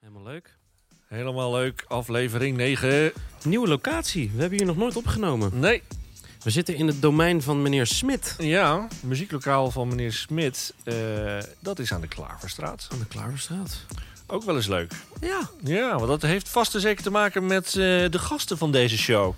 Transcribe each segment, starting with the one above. Helemaal leuk. Helemaal leuk. Aflevering 9. Nieuwe locatie. We hebben hier nog nooit opgenomen. Nee, We zitten in het domein van meneer Smit. ja. Muzieklokaal van meneer Smit. eh, dat is aan de Klaverstraat. Aan de Klaverstraat. Ook wel eens leuk. Ja. Ja, want dat heeft vast en zeker te maken met eh, de gasten van deze show.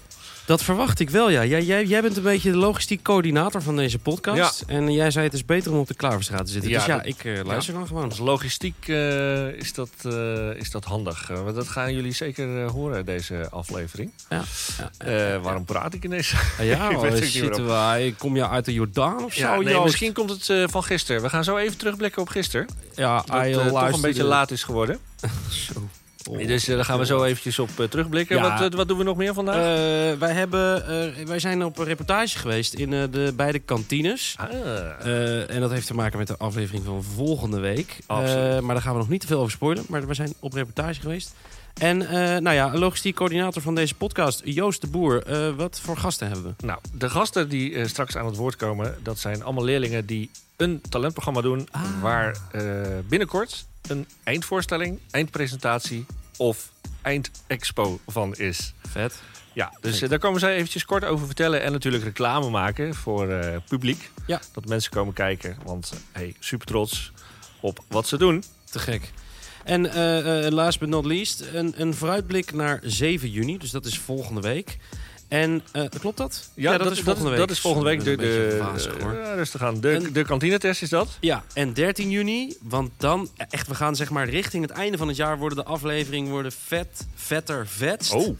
Dat verwacht ik wel, ja. Jij, jij, jij bent een beetje de logistiek coördinator van deze podcast. En jij zei het is beter om op de Klaverstraat te zitten. Ja, dus ja, dat- ik eh, luister dan gewoon. Als Dus logistiek eh, is, dat, eh, is dat handig. Eh, want dat gaan jullie zeker eh, horen, deze aflevering. Ja. Ja. Eh, waarom praat ik ineens? deze? Ja, eh, Ik weet het ook niet zitten we, kom je uit de Jordaan of zo? nee, Joost? misschien komt het eh, van gisteren. We gaan zo even terugblikken op gisteren. Ja, Dat hij eh, toch een luisterde- beetje laat is geworden. Zo. Oh. Nee, Dus eh, daar gaan we zo eventjes op eh, terugblikken. Ja. Wat, eh, wat doen we nog meer vandaag? Eh, wij, hebben, eh, wij zijn op een reportage geweest in eh, de beide kantines. Ah. Eh, en dat heeft te maken met de aflevering van volgende week. Absoluut. Eh, maar daar gaan we nog niet te veel over spoilen. Maar we zijn op reportage geweest. En eh, nou ja, logistiek coördinator van deze podcast, Joost de Boer. eh, wat voor gasten hebben we? Nou, de gasten die eh, straks aan het woord komen, dat zijn allemaal leerlingen die een talentprogramma doen. Ah. Waar eh, binnenkort een eindvoorstelling, eindpresentatie of eindexpo van is. Vet. Ja, dus eh, Zeker. daar komen zij eventjes kort over vertellen. En natuurlijk reclame maken voor eh, publiek. Ja. Dat mensen komen kijken, want eh, hey, super trots op wat ze doen. Te gek. En eh, eh, last but not least, een, een vooruitblik naar 7 juni. Dus dat is volgende week. En eh, klopt dat? Dat is volgende week. Ik ben De, een beetje de, wazig, hoor. ja, rustig aan. De, En- de kantinetest is dat. Ja, en 13 juni, want dan, echt, we gaan zeg maar richting het einde van het jaar worden de afleveringen worden vet, vetter, vetst. Oh,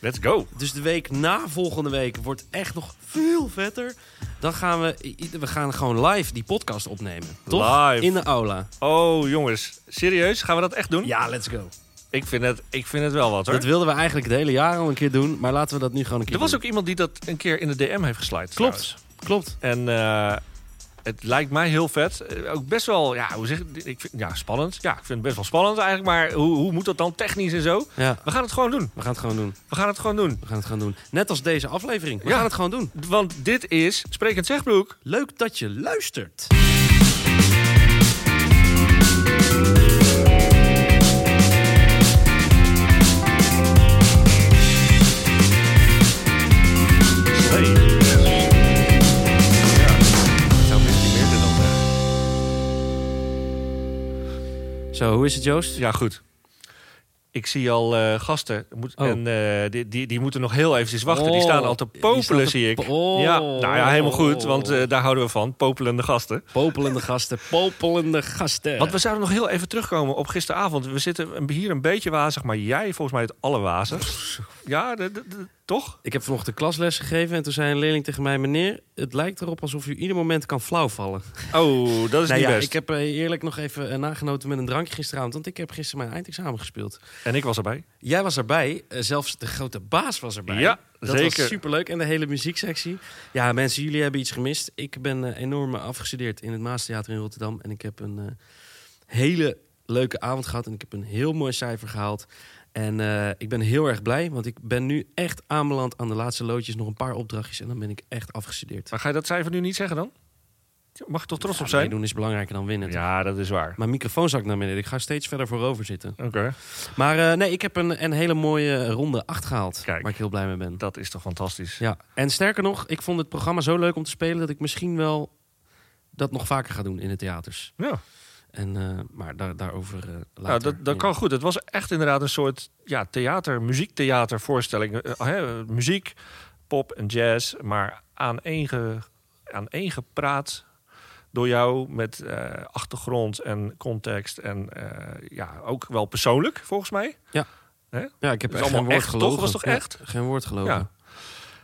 let's go. Dus de week na volgende week wordt echt nog veel vetter. Dan gaan we, i- we gaan gewoon live die podcast opnemen. Toch? Live. In de aula. Oh, jongens. Serieus? Gaan we dat echt doen? Ja, let's go. Ik vind het, ik vind het wel wat, hoor. Dat wilden we eigenlijk het hele jaar al een keer doen, maar laten we dat nu gewoon een keer Er was doen. ook iemand die dat een keer in de DM heeft geslijt. Klopt, klopt. En eh, het lijkt mij heel vet. Eh, Ook best wel, ja, hoe zeg ik? ik vind, ja, spannend. Ja, ik vind het best wel spannend eigenlijk. Maar hoe, hoe moet dat dan technisch en zo? Ja, We gaan het gewoon doen. we gaan het gewoon doen. We gaan het gewoon doen. We gaan het gewoon doen. Net als deze aflevering. We Ja. gaan het gewoon doen. Want dit is Sprekend Zegbroek. Leuk dat je luistert. Hey. Ja. Ik zou best niet meer doen dan, eh. Zo, hoe is het Joost? Ja, goed. Ik zie al eh, gasten moet, Oh. en eh, die, die, die moeten nog heel eventjes wachten. die staan al te Oh, die staan popelen, te zie ik. po- oh. Ja, nou ja, helemaal goed, want eh, daar houden we van. Popelende gasten. Popelende gasten, popelende gasten. Want we zouden nog heel even terugkomen op gisteravond. We zitten een- hier een beetje wazig, maar jij volgens mij het allerwazig. Ja, de- de- de- toch? Ik heb vanochtend klasles gegeven en toen zei een leerling tegen mij... meneer, het lijkt erop alsof u ieder moment kan flauwvallen. Oh, dat is nou niet ja, best. ik heb eh, eerlijk nog even eh, nagenoten met een drankje gisteravond... want ik heb gisteren mijn eindexamen gespeeld. En ik was erbij. Jij was erbij, eh, zelfs de grote baas was erbij. Ja, Dat zeker. was superleuk en de hele muzieksectie. Ja, mensen, jullie hebben iets gemist. Ik ben eh, enorm eh, afgestudeerd in het Maastheater in Rotterdam... en ik heb een eh, hele leuke avond gehad en ik heb een heel mooi cijfer gehaald... En eh, ik ben heel erg blij, want ik ben nu echt aanbeland aan de laatste loodjes. Nog een paar opdrachtjes en dan ben ik echt afgestudeerd. Maar ga je dat cijfer nu niet zeggen dan? Je Mag je toch trots Ja, op zijn? meedoen is belangrijker dan winnen. Ja, dat is waar. Mijn microfoon zakt naar beneden. Ik ga steeds verder voorover zitten. Oké, Maar eh, nee, ik heb een, een hele mooie ronde 8 gehaald. Kijk. Waar ik heel blij mee ben. dat is toch fantastisch. Ja. En sterker nog, ik vond het programma zo leuk om te spelen... dat ik misschien wel dat nog vaker ga doen in de theaters. Ja. En, eh, maar daar, daarover eh, later. Nou, dat, dat Ja. kan goed. Het was echt inderdaad een soort ja, theater, muziektheatervoorstelling. Eh, hè, muziek, pop en jazz, maar aan één gepraat door jou met eh, achtergrond en context. En eh, ja, ook wel persoonlijk, volgens mij. Ja, ik heb echt Het is geen allemaal woord echt, toch? gelogen. Was toch Ja, echt? geen woord gelogen. Ja.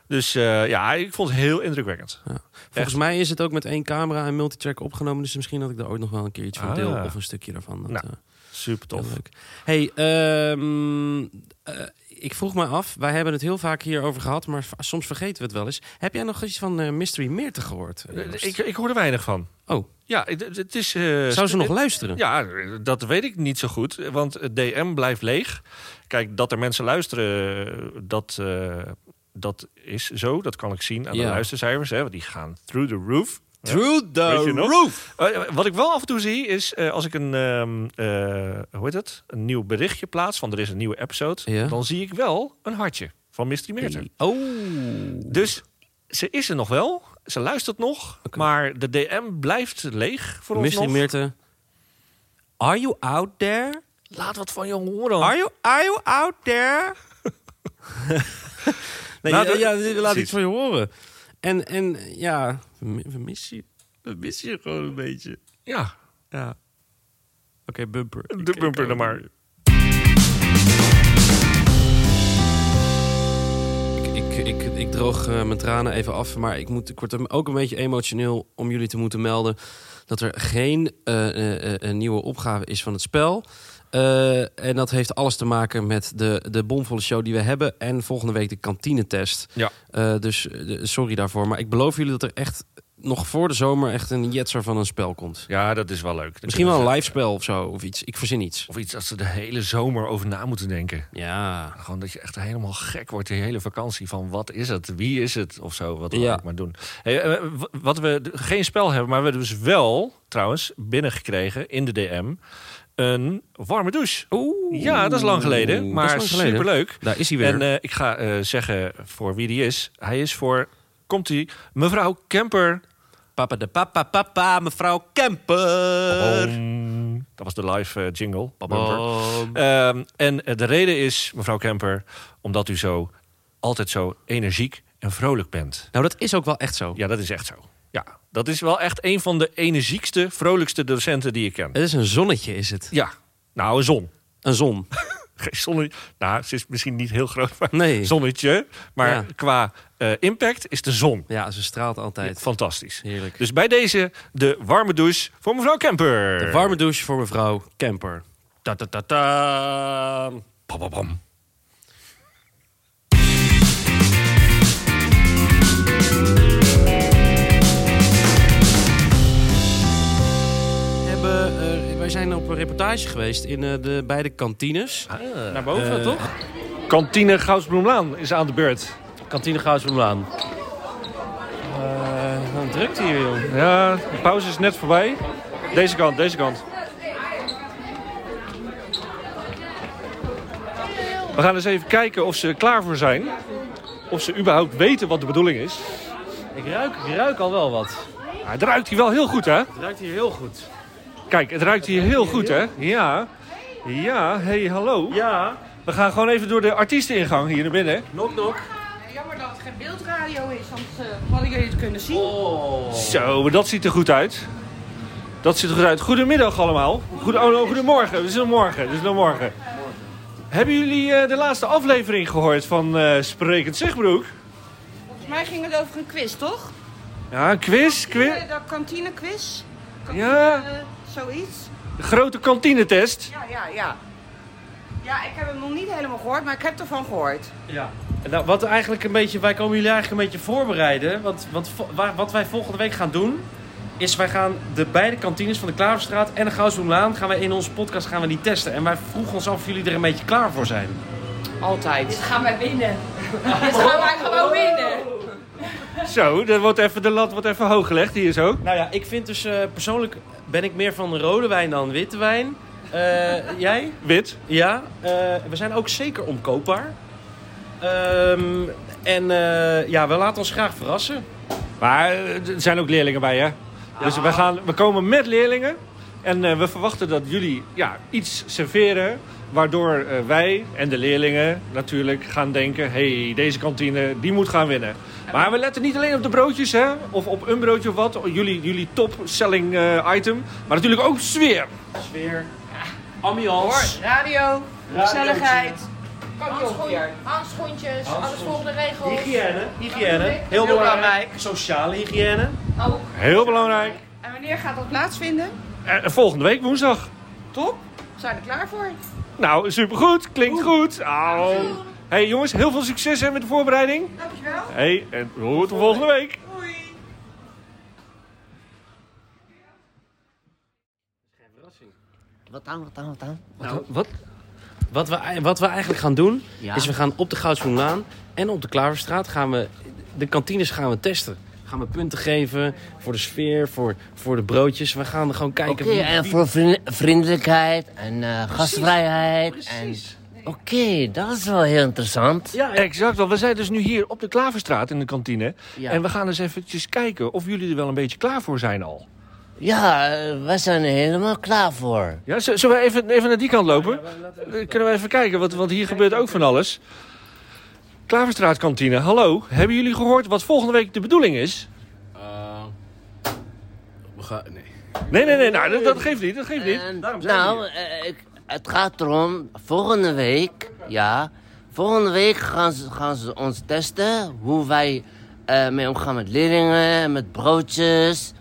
Dus eh, ja, ik vond het heel indrukwekkend. Volgens mij is het ook met één camera en multitrack opgenomen. Dus misschien dat ik daar ooit nog wel een keer iets van Ah. deel. Of een stukje daarvan. Dat, Nou, eh, Super tof. Heel leuk. Hey, ehm, eh, ik vroeg me af, wij hebben het heel vaak hierover gehad, maar va- soms vergeten we het wel eens. Heb jij nog iets van eh, Mystery Meerte gehoord? eh, Joost? Ik, ik hoor er weinig van. Oh. Ja, het- het het is... eh, Zou ze nog het- luisteren? Ja, dat weet ik niet zo goed, want het DM blijft leeg. Kijk, dat er mensen luisteren, dat, eh, dat is zo. Dat kan ik zien aan Ja. de luistercijfers. Hè, want die gaan through the roof. Through the Weet je nog? roof. Eh, wat ik wel af en toe zie is eh, als ik een, ehm, eh, hoe heet het? een nieuw berichtje plaats van er is een nieuwe episode, Ja. dan zie ik wel een hartje van Mystery Meerter. Oh. Dus ze is er nog wel, ze luistert nog, maar de DM blijft leeg voor ons Mystery nog. Meerte. Are you out there? Laat wat van je horen. Are you, are you out there? nee, ja, Nou, dat- ja, we laten precies. iets van je horen. En, en ja, we mi- we missen je. We missen je gewoon een beetje. Ja, Ja. Oké, bumper. Ik de kijk bumper dan over. maar. Ik, ik, ik, ik droog eh, mijn tranen even af, maar ik, moet, ik word hem ook een beetje emotioneel om jullie te moeten melden dat er geen eh, eh, eh, een nieuwe opgave is van het spel. Eh, en dat heeft alles te maken met de, de bomvolle show die we hebben en volgende week de kantinetest. Ja. Eh, dus eh, sorry daarvoor, maar ik beloof jullie dat er echt nog voor de zomer echt een jetser van een spel komt. Ja, dat is wel leuk. Dan Misschien wel kunnen een ze- live spel of zo, of iets. Ik verzin iets. Of iets dat ze de hele zomer over na moeten denken. Ja. Gewoon dat je echt helemaal gek wordt die hele vakantie van wat is het, wie is het of zo, wat we Ja. ook maar doen. Hey, eh, w- wat we d- geen spel hebben, maar we hebben dus wel trouwens binnengekregen in de DM een warme douche. Oeh. Ja, dat is lang geleden, maar superleuk. Daar is hij weer. En eh, ik ga eh, zeggen voor wie die is. Hij is voor, komt hij, mevrouw Kemper. Papa de papa, papa, mevrouw Kemper. Oh. Dat was de live eh, jingle. bumper. Bam. Ehm, en eh, de reden is, mevrouw Kemper, omdat u zo altijd zo energiek en vrolijk bent. Nou, dat is ook wel echt zo. Ja, dat is echt zo. Ja, dat is wel echt een van de energiekste, vrolijkste docenten die ik ken. Het is een zonnetje, is het? Ja, nou, een zon. Een zon. Geen zonnetje. Nou, ze is misschien niet heel groot, maar Nee. zonnetje. Maar Ja. qua eh, impact is de zon Ja, ze straalt altijd. fantastisch. Heerlijk. Dus bij deze de warme douche voor mevrouw Kemper. De warme douche voor mevrouw Kemper. Ta ta ta ta. Bam, bam, bam. We hebben, eh, wij zijn op een reportage geweest in eh, de beide kantines. Naar Eh, boven, toch? Eh, Kantine Goudsbloemlaan is aan de beurt. Kantine Goudsbloemlaan. Eh, Wat drukt hier, joh. Ja, de pauze is net voorbij. Deze kant, deze kant. We gaan eens even kijken of ze er klaar voor zijn. Of ze überhaupt weten wat de bedoeling is. Ik ruik, ik ruik al wel wat. Ah, het ruikt hier wel heel goed, hè? Het ruikt hier heel goed. Kijk, het ruikt hier heel goed, hè? Ja. Ja, hey, hallo. Ja, We gaan gewoon even door de artiesteningang hier naar binnen. knock knock. Jammer dat het geen beeldradio is, anders eh, hadden jullie het kunnen zien. Zo, maar dat ziet er goed uit. Dat ziet er goed uit. Goedemiddag allemaal. Goed, oh, no, goedemorgen. Het is nog morgen. Het is nog morgen. Hebben jullie eh, de laatste aflevering gehoord van eh, Sprekend Zegbroek? Volgens mij ging het over een quiz, toch? Ja, een quiz, quiz. Eh, De kantinequiz? Kantine, Ja. eh, zoiets? De grote kantinetest. Ja, ja, ja. Ja, ik heb hem nog niet helemaal gehoord, maar ik heb ervan gehoord. Ja. Nou, wat eigenlijk een beetje, wij komen jullie eigenlijk een beetje voorbereiden. Want, want vo- wa- wat wij volgende week gaan doen, is wij gaan de beide kantines van de Klaverstraat en de Goudsbloemlaan gaan wij in onze podcast gaan we die testen. En wij vroegen ons af of jullie er een beetje klaar voor zijn. Altijd. Dit gaan wij winnen. Dit gaan wij gewoon winnen. Zo, dat wordt even, de lat wordt even hoog gelegd hier zo. Nou ja, ik vind dus eh, persoonlijk ben ik meer van de rode wijn dan witte wijn. Eh, jij? Wit. Ja, eh, we zijn ook zeker omkoopbaar. Ehm, en eh, ja, we laten ons graag verrassen. Maar eh, er zijn ook leerlingen bij, hè? Dus we, gaan, we komen met leerlingen. En eh, we verwachten dat jullie ja, iets serveren. Waardoor eh, wij en de leerlingen natuurlijk gaan denken... hey, deze kantine, die moet gaan winnen. Maar we letten niet alleen op de broodjes, hè? Of op een broodje of wat. Jullie, jullie top-selling eh, item. Maar natuurlijk ook sfeer. Sfeer, ambiance. Radio, gezelligheid. Handschoen, handschoentjes, alles volgens de regels. Hygiëne, hygiëne. Heel Heel belangrijk. belangrijk. Sociale hygiëne. Ook. Heel belangrijk. En wanneer gaat dat plaatsvinden? Eh, volgende week woensdag. Top. Zijn we er klaar voor? Nou, supergoed. Klinkt goed. Au. hey, jongens, heel veel succes hè, met de voorbereiding. Dankjewel. hey, en we horen tot volgende week. Doei. Wat dan, wat dan, wat dan? Nou, wat, wat, we, ei- wat we eigenlijk gaan doen, Ja. is we gaan op de Goudsbloemlaan en op de Klaverstraat gaan we de kantines gaan we testen. We gaan me punten geven voor de sfeer, voor, voor de broodjes. We gaan gewoon Oké, kijken. wie- en voor vriend- vriendelijkheid en eh, gastvrijheid. Precies. En... Oké, dat is wel heel interessant. Ja, ja. Exact, want we zijn dus nu hier op de Klaverstraat in de kantine. Ja. En we gaan eens eventjes kijken of jullie er wel een beetje klaar voor zijn al. Ja, eh, wij zijn er helemaal klaar voor. Ja, z- zullen we even, even naar die kant lopen? Eh, Kunnen we even kijken, want, want hier gebeurt ook van alles. Klaverstraatkantine, hallo. Hebben jullie gehoord wat volgende week de bedoeling is? Eh, we gaan, nee. Nee, nee, nee, nou, dat, dat geeft niet, dat geeft niet. En, Daarom zijn we nou, hier. eh, ik- het gaat erom, volgende week, ja, volgende week gaan ze, gaan ze ons testen hoe wij eh, mee omgaan met leerlingen, met broodjes.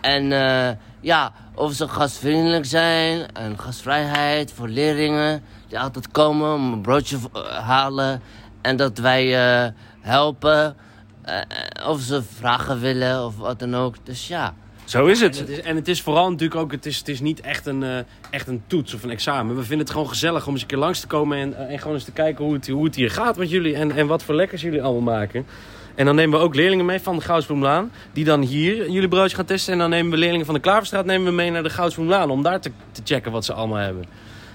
En eh, ja, of ze gastvriendelijk zijn en gastvrijheid voor leerlingen die altijd komen om een broodje v- eh, halen. En dat wij eh, helpen, eh, eh, of ze vragen willen of wat dan ook. Dus ja. Zo is En het. het, is, en het is vooral natuurlijk ook, het is, het is niet echt een, eh, echt een toets of een examen. We vinden het gewoon gezellig om eens een keer langs te komen en, eh, en gewoon eens te kijken hoe het, hoe het hier gaat met jullie en, en wat voor lekkers jullie allemaal maken. En dan nemen we ook leerlingen mee van de Goudsbloemlaan, die dan hier jullie broodje gaan testen. En dan nemen we leerlingen van de Klaverstraat nemen we mee naar de Goudsbloemlaan om daar te, te checken wat ze allemaal hebben.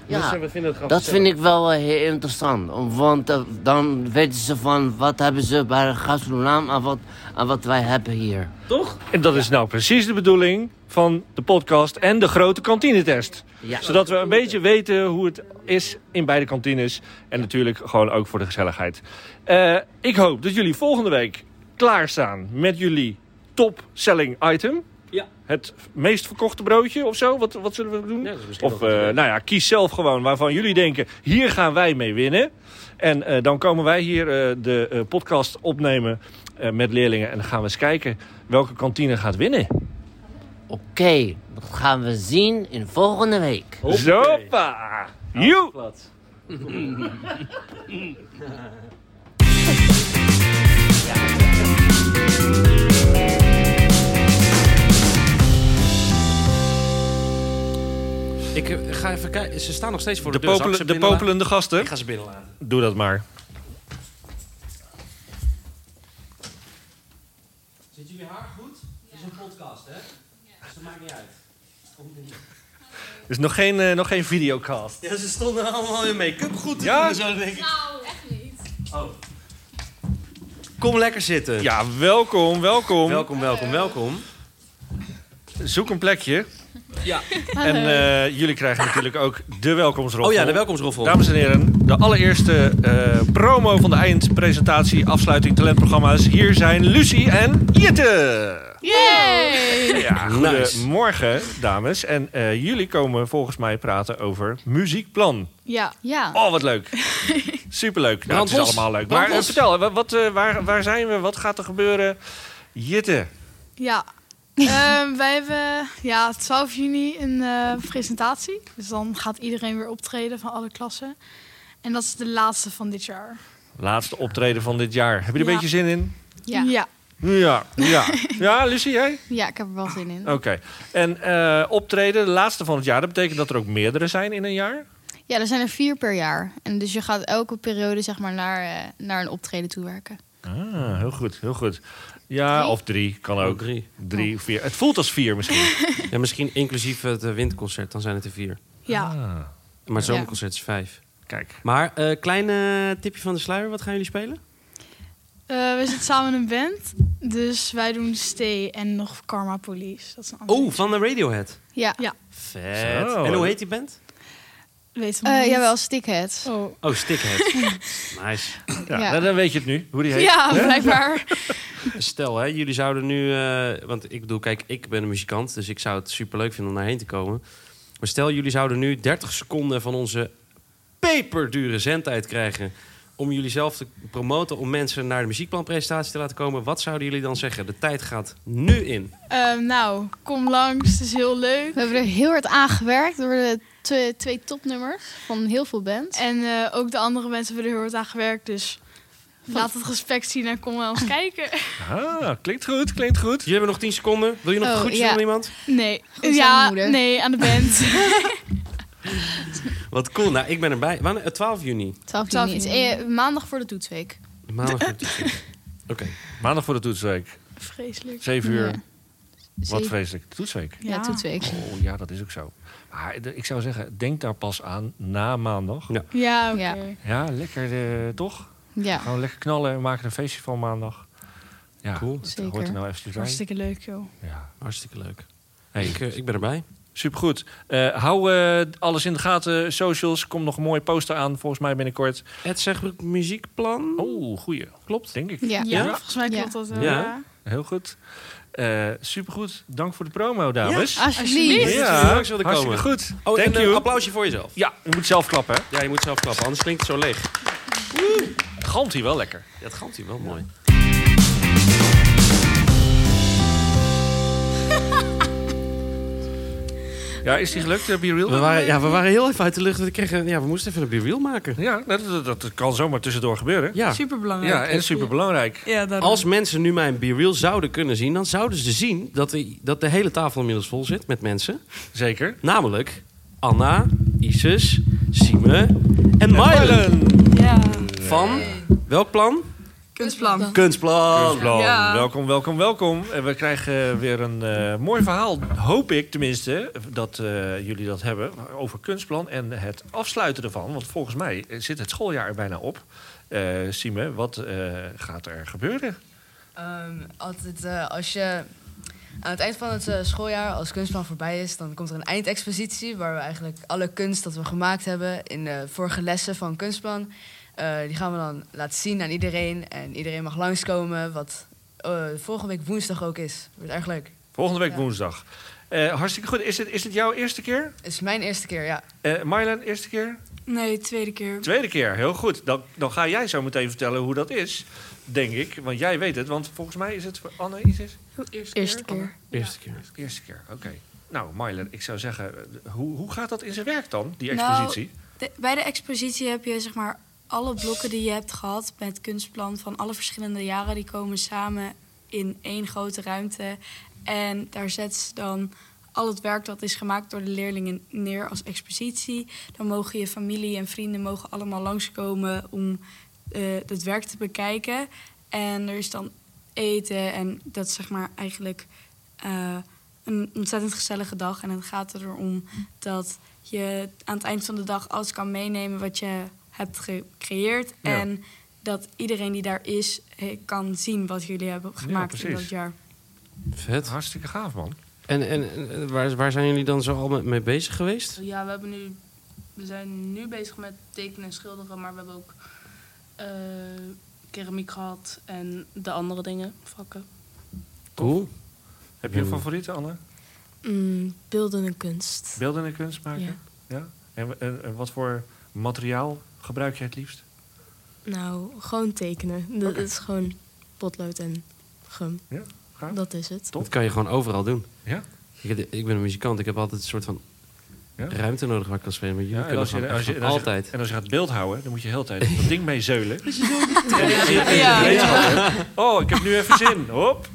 Dus Ja, eh, we vinden het gewoon Dat gezellig. vind ik wel eh, heel interessant. om- Want eh, dan weten ze van wat hebben ze bij de gastronaam en wat, en wat wij hebben hier. Toch? En dat is nou precies de bedoeling van de podcast en de grote kantinetest. Ja. Zodat we een beetje weten hoe het is in beide kantines. En natuurlijk gewoon ook voor de gezelligheid. Eh, ik hoop dat jullie volgende week klaarstaan met jullie top selling item. Ja. Het meest verkochte broodje of zo. Wat, wat zullen we doen? Ja, dat is misschien of wel goed, eh, ja. nou ja, kies zelf gewoon waarvan jullie denken, hier gaan wij mee winnen. En eh, dan komen wij hier eh, de eh, podcast opnemen eh, met leerlingen. En dan gaan we eens kijken welke kantine gaat winnen. Oké, dat gaan we zien in volgende week. Zoppa! Nou, Joe! Plat. Ik eh, ga even kijken. Ze staan nog steeds voor de, De, deur. Zal popelen- ik ze de binnenla- popelende gasten. Ik ga ze binnenlaten. Doe dat maar. Zit jullie haar goed? Het is een podcast, hè? Dus dat maakt niet uit. Er is nog geen, eh, nog geen videocast. Ja, ze stonden allemaal in make-up goed te Ja? doen, zo denk ik. Oh. Nou, echt niet. Kom lekker zitten. Ja, welkom, welkom. Welkom, welkom, welkom. Zoek een plekje. Ja. En eh, jullie krijgen natuurlijk ook de welkomsrol. Oh ja, de welkomsroffel. Dames en heren, de allereerste eh, promo van de eindpresentatie, afsluiting talentprogramma's. Hier zijn Lucie en Jette. Ja, goedemorgen, dames. En eh, jullie komen volgens mij praten over muziekplan. Ja. Ja. Oh, wat leuk. Superleuk. Nou, het is Brandlos. allemaal leuk. Maar Brandlos. eh, vertel, wa- wat, eh, waar, waar zijn we? Wat gaat er gebeuren? Jitte. ja. Ehm, wij hebben ja, 12 juni een eh, presentatie. Dus dan gaat iedereen weer optreden van alle klassen. En dat is de laatste van dit jaar. Laatste optreden van dit jaar. Heb je er Ja. een beetje zin in? Ja. ja. Ja, ja. Ja, Lucie, jij? Ja, ik heb er wel zin in. Oké. En eh, optreden, de laatste van het jaar. Dat betekent dat er ook meerdere zijn in een jaar? Ja, er zijn er vier per jaar. En dus je gaat elke periode zeg maar naar, eh, naar een optreden toe werken. Ah, heel goed, heel goed. Ja, Drie? Oh. of drie, kan ook. drie. Drie, vier. Het voelt als vier misschien. Ja, misschien inclusief het eh, windconcert, dan zijn het er vier. ja. Ah, Maar het zomerconcert is vijf. kijk. Maar eh klein eh, tipje van de sluier, wat gaan jullie spelen? Eh, we zitten samen in een band. Dus wij doen Stay en nog Karma Police. Dat is een andere- Oh, van de Radiohead. Ja, Eh, Ja. Vet. Zo. En hoe heet die band? Weet je Eh niet. jawel, stickheads. Oh. Oh, Stickhead. nice. Ja, Ja. nou, Dan weet je het nu, hoe die heet. Ja, blijkbaar. Stel, hè, jullie zouden nu... eh, want ik bedoel, kijk, ik ben een muzikant, dus ik zou het superleuk vinden om daarheen te komen. Maar stel, jullie zouden nu 30 seconden van onze peperdure zendtijd krijgen... om jullie zelf te promoten, om mensen naar de muziekplanpresentatie te laten komen. Wat zouden jullie dan zeggen? De tijd gaat nu in. Ehm, nou, kom langs. Het is heel leuk. We hebben er heel hard aan gewerkt door de twee, twee topnummers van heel veel bands. En eh, ook de andere mensen hebben er heel hard aan gewerkt. Dus laat het respect zien en kom wel eens kijken. Ah, klinkt goed, klinkt goed. Jullie hebben nog 10 seconden. Wil je nog Oh, een groetje ja. doen aan iemand? Nee. aan ja, mijn moeder. nee, aan de band. Wat cool. Nou, ik ben erbij. Wanneer? Eh, 12 juni. 12 12 juni. is juni. eh, maandag voor de toetsweek. Maandag. Oké. Maandag voor de toetsweek. Vreselijk. Zeven uur. Ja. Wat Zeven- vreselijk. Toetsweek. Ja, Ja. toetsweek. Oh ja, dat is ook zo. Maar de- ik zou zeggen, denk daar pas aan na maandag. Ja, oké. Ja. Ja, lekker eh, toch? Ja, Gewoon lekker knallen en maken er een feestje van maandag. Ja, Cool. dat Zeker. hoort er nou even bij. Hartstikke leuk, joh. Ja. Hartstikke leuk. Hey, Ik, eh, ik ben erbij. supergoed. Eh, hou eh, alles in de gaten, socials. Komt nog een mooie poster aan, volgens mij binnenkort. Ed zegt muziekplan. Oh, goeie. Klopt. Denk ik. ja. Ja, volgens mij Ja. klopt dat wel. Ja. ja. Heel goed. Eh, supergoed. Dank voor de promo, dames. Alsjeblieft. Ja. Ah, Dat is langs wilde hartstikke komen. goed. Oh, Thank en een you. applausje voor jezelf. Ja, je moet zelf klappen. hè. Ja, je moet zelf klappen, anders klinkt het zo leeg. Galmt hier wel lekker. Ja, dat gaat hier wel mooi. Ja, is die gelukt, eh, Be Real? We waren, ja, we waren heel even uit de lucht. want ik kreeg een- ja, we moesten even een bierwiel maken. Ja, nou, dat, dat, dat kan zomaar tussendoor gebeuren. Ja. Superbelangrijk. Ja, en superbelangrijk. Ja, daarom. Als mensen nu mijn B-reel zouden kunnen zien, dan zouden ze zien dat de, dat de hele tafel inmiddels vol zit met mensen. Zeker. Namelijk Anna, Isis, Sime en Mylen. Ja. Van welk plan? Kunstplan. Kunstplan. Kunstplan. Ja. Welkom, welkom, welkom. En we krijgen eh, weer een eh, mooi verhaal, hoop ik tenminste, dat eh, jullie dat hebben, over kunstplan en het afsluiten ervan. Want volgens mij eh, zit het schooljaar er bijna op. Eh Sime, wat eh, gaat er gebeuren? Ehm, altijd eh, als je aan het eind van het eh, schooljaar, als kunstplan voorbij is, dan komt er een eindexpositie waar we eigenlijk alle kunst dat we gemaakt hebben in de vorige lessen van kunstplan, eh, die gaan we dan laten zien aan iedereen. En iedereen mag langskomen, wat eh, volgende week woensdag ook is. Wordt erg leuk. Volgende week Ja. woensdag. Eh, hartstikke goed. Is het, is het jouw eerste keer? Het is mijn eerste keer, ja. Eh Marjolein, eerste keer? Nee, tweede keer. Tweede keer, heel goed. Dan, dan ga jij zo meteen vertellen hoe dat is, denk ik. Want jij weet het, want volgens mij is het voor Anne Isis. Eerste keer. Eerste keer. Eerste keer, oké. Nou, Marjolein, ik zou zeggen, eh, hoe, hoe gaat dat in zijn werk dan, die Nou, expositie? De- bij de expositie heb je zeg maar alle blokken die je hebt gehad met kunstplan van alle verschillende jaren, die komen samen in één grote ruimte. En daar zet ze dan al het werk dat is gemaakt door de leerlingen neer als expositie. Dan mogen je familie en vrienden mogen allemaal langskomen om eh het werk te bekijken. En er is dan eten en dat is zeg maar eigenlijk eh, een ontzettend gezellige dag. En het gaat erom dat je aan het eind van de dag alles kan meenemen wat je hebt gecreëerd. Ja. En dat iedereen die daar is eh, kan zien wat jullie hebben gemaakt in precies. dat jaar. Vet. Hartstikke gaaf, man. En, en en waar, waar zijn jullie dan zo al mee- mee bezig geweest? Ja, we, hebben nu, we zijn nu bezig met tekenen en schilderen, maar we hebben ook eh, keramiek gehad en de andere dingen, vakken. Cool. Heb je een favoriete, Anne? Mm, beeldende kunst. Beeldende kunst maken? Ja. En, en, en wat voor materiaal gebruik je het liefst? Nou, gewoon tekenen. Dat is gewoon potlood en gum. Ja, gaaf. Dat is het. Dat kan je gewoon overal doen. Ja. Ik, heb- ik ben een muzikant. Ik heb altijd een soort van Ja. ruimte nodig waar ik kan spelen. Maar jullie Ja, en kunnen als je, gewoon als je- echt en als je- altijd. en als je gaat beeld houden, dan moet je heel de tijd op dat ding mee zeulen. Oh, ik heb nu even zin. Hop.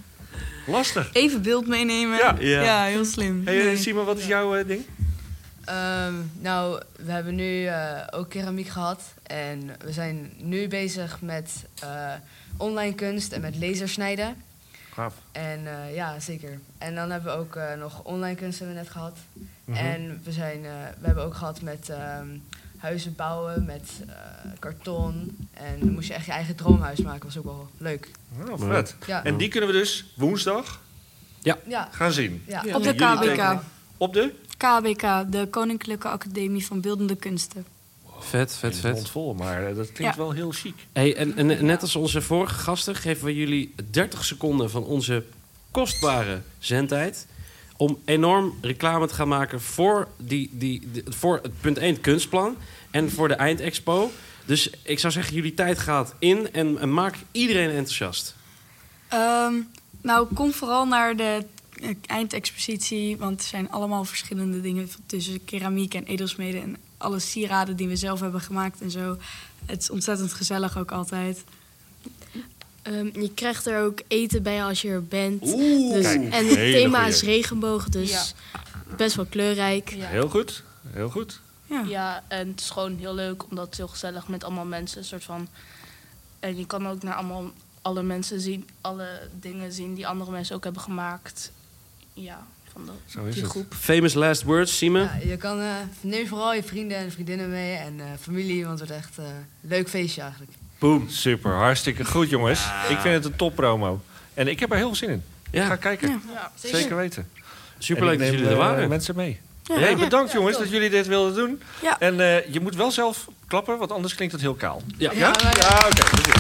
Lastig. Even beeld meenemen. Ja. Ja. heel slim. Hey, eh, Simon, wat is jouw eh, ding? Ehm, nou, we hebben nu eh, ook keramiek gehad. En we zijn nu bezig met eh, online kunst en met lasersnijden. Gaaf. En eh, ja, zeker. En dan hebben we ook eh, nog online kunst hebben we net gehad. Mhm. En we, zijn, eh, we hebben ook gehad met ehm, huizen bouwen, met eh, karton. En dan moest je echt je eigen droomhuis maken. was ook wel leuk. Oh, vet. Ja, En die kunnen we dus woensdag ja, gaan zien. ja. Op de Jullie KBK. tekenen. Op de? KBK, de Koninklijke Academie van Beeldende Kunsten. Vet, vet, Het vet. mond vol, maar eh, dat klinkt Ja. wel heel chic. Hey, en, en net als onze vorige gasten geven we jullie 30 seconden van onze kostbare zendtijd. Om enorm reclame te gaan maken voor, die, die, de- voor het punt 1 kunstplan en voor de eindexpo. Dus ik zou zeggen, jullie tijd gaat in en, en maak iedereen enthousiast. Ehm, nou, kom vooral naar de eh, eindexpositie, want er zijn allemaal verschillende dingen van tussen keramiek en edelsmeden en alle sieraden die we zelf hebben gemaakt en zo. Het is ontzettend gezellig ook altijd. Ehm, je krijgt er ook eten bij als je er bent. Oeh, Dus, Kijk, en het hele thema goeie. is regenboog, dus best wel kleurrijk. Ja. Heel goed, heel goed. Ja. ja, en het is gewoon heel leuk, omdat het is heel gezellig met allemaal mensen. Een soort van, en je kan ook naar allemaal alle mensen zien, alle dingen zien die andere mensen ook hebben gemaakt. Ja, van de, die groep. Famous last words, Simon. Ja, je kan, eh, neem vooral je vrienden en vriendinnen mee en eh, familie, want het wordt echt eh, een leuk feestje eigenlijk. Boom. Super, hartstikke goed jongens. Ik vind het een top promo. En ik heb er heel veel zin in. Ik ga kijken. Ja, zeker. zeker. weten. Superleuk En dat ik neem, jullie er eh, waren. mensen mee. Ja. Hey, Ja. bedankt jongens dat jullie dit wilden doen. Ja. En eh, je moet wel zelf klappen, want anders klinkt het heel kaal. Ja, ja? Ja, maar- Ja, oké.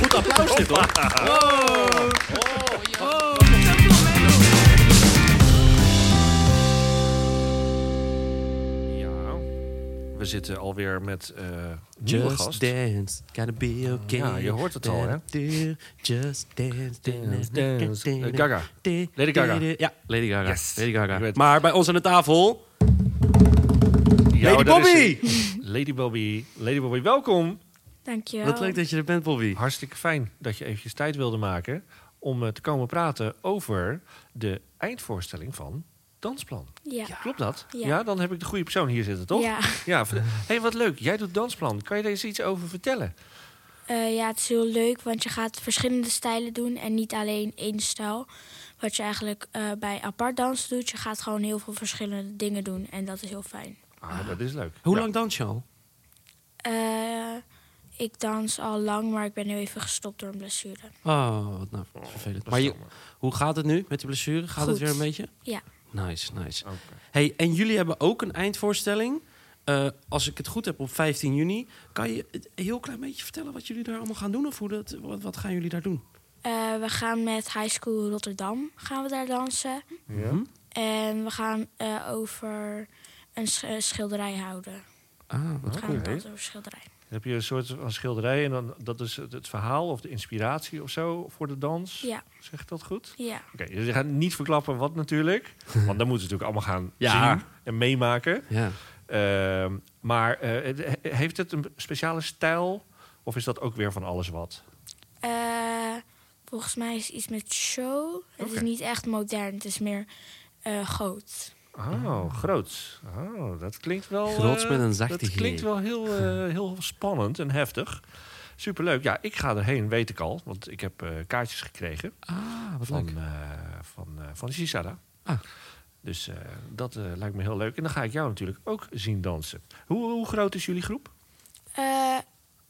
Goed applaus dit hoor. Ja. We zitten alweer met eh nieuwe Just gast. dance, gotta be okay. Ja, je hoort het al, hè? Do, Just dance, dance, dance. dance. Eh, Gaga. Lady Gaga. Ja, Lady Gaga. Yes. Lady Gaga. Maar bij ons aan de tafel... Ja, Lady daar is Bobby! ze. Lady Bobby. Lady Bobby, welkom. Dankjewel. Wat leuk dat je er bent, Bobby. Hartstikke fijn dat je eventjes tijd wilde maken om eh, te komen praten over de eindvoorstelling van Dansplan. Ja. Klopt dat? Ja. dan heb ik de goede persoon hier zitten, toch? Ja. ja ver- hey, wat leuk. Jij doet Dansplan. Kan je daar eens iets over vertellen? Eh, ja, het is heel leuk, want je gaat verschillende stijlen doen en niet alleen één stijl. Wat je eigenlijk eh, bij apart dansen doet, je gaat gewoon heel veel verschillende dingen doen en dat is heel fijn. Ah, dat is leuk. Hoe lang dans je al? Eh, ik dans al lang, maar ik ben nu even gestopt door een blessure. Oh, wat nou vervelend. Maar je- hoe gaat het nu met die blessure? Gaat het Goed. weer een beetje? Ja. Nice, nice. Hey, en jullie hebben ook een eindvoorstelling. Eh, als ik het goed heb, op 15 juni. Kan je het een heel klein beetje vertellen wat jullie daar allemaal gaan doen? Of hoe dat, wat, wat gaan jullie daar doen? Eh, we gaan met High School Rotterdam gaan we daar dansen. En we gaan eh, over een sch- eh, schilderij houden. Ah, we gaan dansen over schilderij. Dan heb je een soort van schilderij en dan, dat is het, het verhaal of de inspiratie of zo voor de dans. Ja. Zeg ik dat goed? Ja. Oké, jullie gaan niet verklappen wat natuurlijk. want dan moeten ze natuurlijk allemaal gaan Ja. zien en meemaken. Ja. Ehm, maar eh, het- he- heeft het een speciale stijl of is dat ook weer van alles wat? Eh, volgens mij is iets met show. Het is Oké. niet echt modern, het is meer eh groot. Oh, groot. Oh, dat klinkt wel. Groots eh, met een zachte Dat G. klinkt wel heel, eh, heel spannend en heftig. Superleuk. Ja, ik ga erheen, weet ik al. Want ik heb eh, kaartjes gekregen. Ah, wat van, leuk. eh, van, eh, van Shisada. Ah. Dus eh, dat eh, lijkt me heel leuk. En dan ga ik jou natuurlijk ook zien dansen. Hoe, hoe groot is jullie groep? Eh,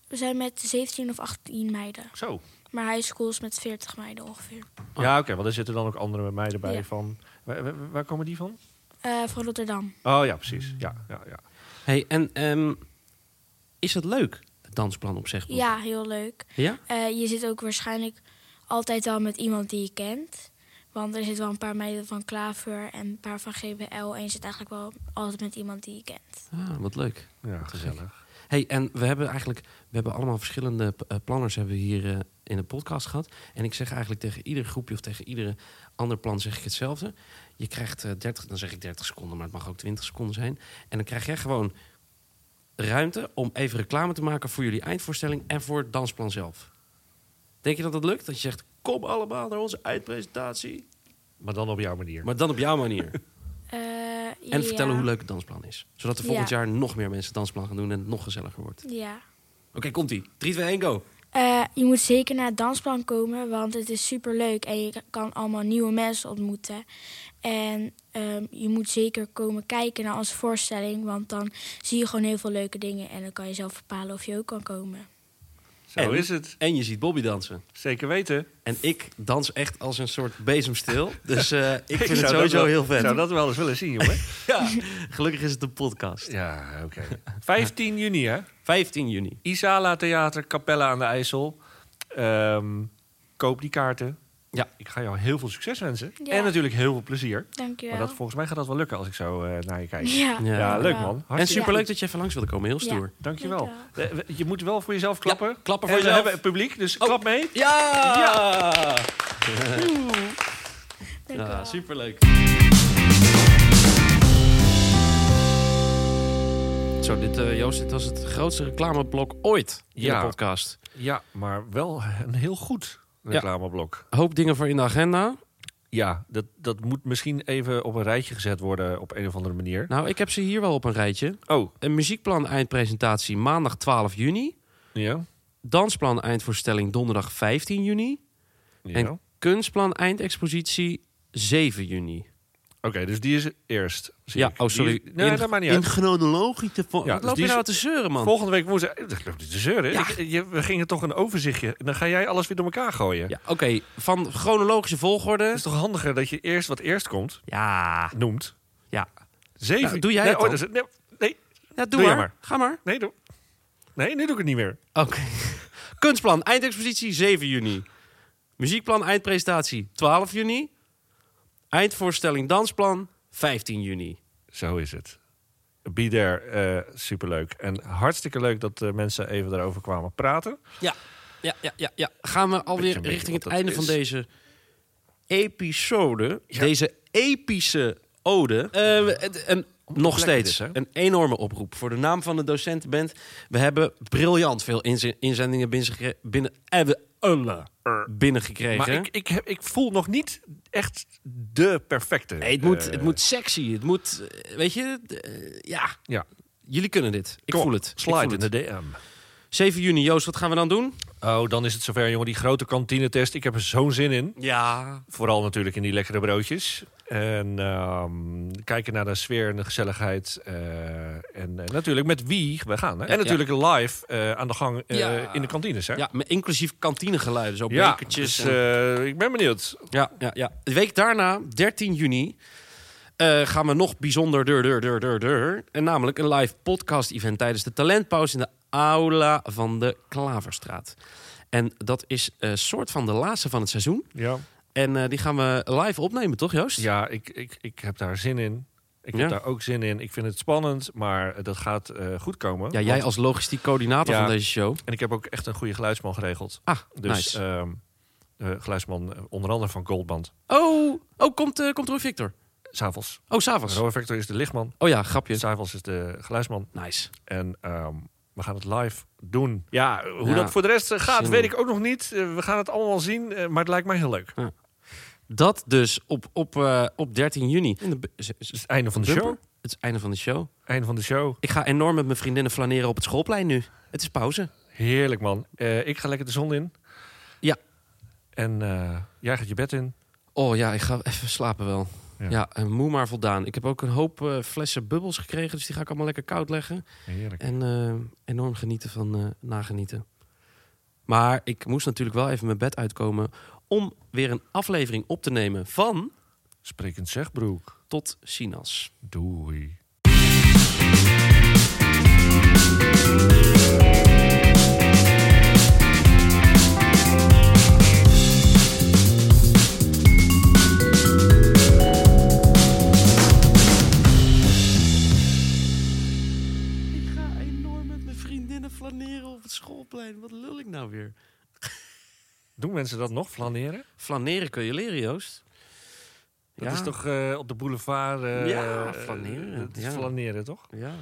we zijn met 17 of 18 meiden. Zo. Maar high school is met 40 meiden ongeveer. Oh. Ja, oké. want er zitten dan ook andere meiden bij Ja. van... Waar, waar- waar komen die van? Eh, van Rotterdam. Oh ja, precies. Ja, ja, ja. Hey, en ehm, is het leuk, het dansplan op zich? Ja, heel leuk. Ja? Eh, je zit ook waarschijnlijk altijd wel met iemand die je kent. Want er zitten wel een paar meiden van Klaver en een paar van GBL. En je zit eigenlijk wel altijd met iemand die je kent. Ah, wat leuk. Ja, gezellig. Hey, en we hebben eigenlijk, we hebben allemaal verschillende p- eh, planners hebben we hier eh, in de podcast gehad. En ik zeg eigenlijk tegen ieder groepje of tegen iedere ander plan zeg ik hetzelfde. Je krijgt eh, 30, dan zeg ik 30 seconden, maar het mag ook 20 seconden zijn. En dan krijg jij gewoon ruimte om even reclame te maken voor jullie eindvoorstelling en voor het dansplan zelf. Denk je dat dat lukt? Dat je zegt, kom allemaal naar onze eindpresentatie. Maar dan op jouw manier. Maar dan op jouw manier. Eh, en ja. vertellen hoe leuk het dansplan is. Zodat er Ja. volgend jaar nog meer mensen het dansplan gaan doen en het nog gezelliger wordt. Ja. Oké, komt-ie. 3, 2, 1, go. Eh, je moet zeker naar het dansplan komen, want het is super leuk en je kan allemaal nieuwe mensen ontmoeten. En ehm, je moet zeker komen kijken naar onze voorstelling, want dan zie je gewoon heel veel leuke dingen en dan kan je zelf bepalen of je ook kan komen. Zo is het. En je ziet Bobby dansen. Zeker weten. En ik dans echt als een soort bezemstil. dus eh, ik vind het zou sowieso dat wel- heel vet. zou dat wel eens willen zien, jongen. ja, gelukkig is het een podcast. Ja, oké. 15 juni, hè? 15 juni. Isala Theater, Capella aan de IJssel. Ehm, koop die kaarten. Ja. Ik ga jou heel veel succes wensen. Ja. En natuurlijk heel veel plezier. Dankjewel. Maar dat, volgens mij gaat dat wel lukken als ik zo eh, naar je kijk. Ja. Ja. leuk Ja. man. En superleuk dat je even langs wilde komen. Heel stoer. Ja. Dankjewel. Eh, we- Je moet wel voor jezelf klappen. klappen voor en jezelf. We hebben het publiek, dus klap mee. Ja! Ja! ja superleuk. Zo, dit, eh, Joost, dit was het grootste reclameblok ooit in Ja. de podcast. Ja, maar wel een heel goed reclameblok. Hoop dingen voor in de agenda. Ja, dat, dat moet misschien even op een rijtje gezet worden op een of andere manier. Nou, ik heb ze hier wel op een rijtje. Oh. Een muziekplan eindpresentatie maandag 12 juni. Ja. dansplan eindvoorstelling donderdag 15 juni. En kunstplan eindexpositie 7 juni. Oké, dus die is eerst. zie Ja, ik. oh sorry. Die is- nee, In- dat maakt niet in uit. dus chronologie te vol- Wat loop die je nou is- te zeuren, man? Volgende week woensdag. eh, Dat loopt niet te zeuren. Ja. Ik- je- we gingen toch een overzichtje. En dan ga jij alles weer door elkaar gooien. Ja, oké. Van chronologische volgorde. Het is toch handiger dat je eerst wat eerst komt. Ja. Noemt. Ja. Zeven. Nou, doe jij nee, het oh, dan? dat is- nee, nee. Ja, doe, jij maar. Ga maar. Nee, doe. Nee, nu doe ik het niet meer. Oké. Kunstplan eindexpositie 7 juni. Muziekplan eindpresentatie 12 juni. Eindvoorstelling dansplan 15 juni. Zo is het. Be there, eh, superleuk. En hartstikke leuk dat eh, mensen even daarover kwamen praten. Ja, ja, ja, ja. ja. Gaan we alweer beetje richting het wat dat einde van is. deze episode. Deze epische ode. Eh, het- en nog Lekker steeds dit, hè? een enorme oproep voor de naam van de docentenband. We hebben briljant veel inz- inzendingen binnen, binnen, binnen, binnengekregen. Maar ik, ik, heb, ik voel nog niet echt de perfecte. Nee, het, moet, eh, het moet sexy. Het moet, eh, weet je, d- eh, ja. Ja. Jullie kunnen dit. Ik Kom op, voel het. Ik slide voel in het. de DM. 7 juni, Joost, wat gaan we dan doen? Oh, dan is het zover, jongen. Die grote kantinetest. Ik heb er zo'n zin in. Ja. Vooral natuurlijk in die lekkere broodjes. En ehm, kijken naar de sfeer en de gezelligheid. eh, en eh, natuurlijk met wie we gaan. Hè? Ja, en natuurlijk live eh, aan de gang eh, Ja. in de kantines. Hè? Ja, met inclusief kantinegeluiden, zo Ja, bekertjes. dus, en- eh, ik ben benieuwd. ja, ja, ja. De week daarna, 13 juni, eh, gaan we nog bijzonder dur, dur, dur, dur, dur. En namelijk een live podcast-event tijdens de talentpauze in de aula van de Klaverstraat. En dat is een soort van de laatste van het seizoen. Ja. En eh, die gaan we live opnemen, toch Joost? Ja, ik, ik, ik heb daar zin in. Ik Ja. heb daar ook zin in. Ik vind het spannend, maar eh, dat gaat eh, goed komen. Ja, jij Want- als logistiek coördinator Ja. van deze show. En ik heb ook echt een goede geluidsman geregeld. Ah, dus nice. ehm, eh, geluidsman eh, onder andere van Goldband. Oh, oh komt, eh komt Roy Victor? S'avonds. Oh, s'avonds. Roy Victor is de lichtman. Oh ja, grapje. S'avonds is de geluidsman. Nice. En ehm, we gaan het live doen. Ja, hoe Ja. dat voor de rest eh, gaat, Zin weet in. ik ook nog niet. Eh, we gaan het allemaal zien, eh, maar het lijkt mij heel leuk. Dat dus op, op, eh, op 13 juni. In de bu- is- is- Dus Het einde van de Bumper? show. Het is het einde van de show. Einde van de show. Ik ga enorm met mijn vriendinnen flaneren op het schoolplein nu. Het is pauze. Heerlijk, man. Eh, ik ga lekker de zon in. Ja. En eh, jij gaat je bed in. Oh ja, ik ga even slapen wel. Ja, Ja. en moe maar voldaan. Ik heb ook een hoop eh, flessen bubbels gekregen, dus die ga ik allemaal lekker koud leggen. Heerlijk. En eh, enorm genieten van eh, nagenieten. Maar ik moest natuurlijk wel even mijn bed uitkomen om weer een aflevering op te nemen van Sprekend zegbroek. Tot Sinas. Doei. Ik ga enorm met mijn vriendinnen flaneren op het schoolplein. Wat lul ik nou weer? Doen mensen dat nog, flaneren? Flaneren kun je leren, Joost. Dat Ja. is toch eh, op de boulevard... eh, Ja, eh, flaneren, dat is ja. flaneren, toch? Ja. Een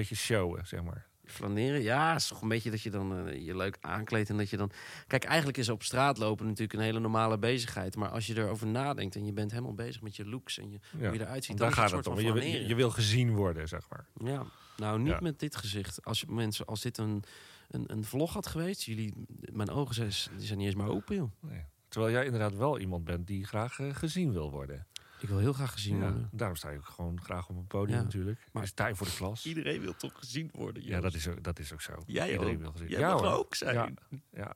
beetje showen, zeg maar. Flaneren, ja, is toch een beetje dat je dan eh, je leuk aankleedt en dat je dan... Kijk, eigenlijk is op straat lopen natuurlijk een hele normale bezigheid. Maar als je erover nadenkt en je bent helemaal bezig met je looks en je, Ja. hoe je eruit ziet... Want daar dan gaat is het het een om. soort Je, van wil- je, flaneren. je wil gezien worden, zeg maar. Ja, nou niet Ja. met dit gezicht. Als je, mensen, als dit een, een, een vlog had geweest, jullie, mijn ogen zijn, die zijn niet eens maar open, joh. Nee. Terwijl jij inderdaad wel iemand bent die graag eh, gezien wil worden. Ik wil heel graag gezien Ja, worden. Daarom sta je ook gewoon graag op een podium Ja. natuurlijk. Maar sta je voor de klas. Iedereen wil toch gezien worden, Ja, dat is ook, dat is ook zo. Jij Iedereen ook. wil gezien. Jij ja, mag hoor. er ook zijn. Ja, ja.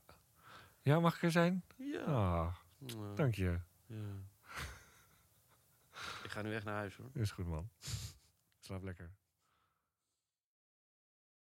Ja, mag ik er zijn? Ja. Ah, dank je. Ik ga nu echt naar huis, hoor. Is goed, man. Slaap lekker.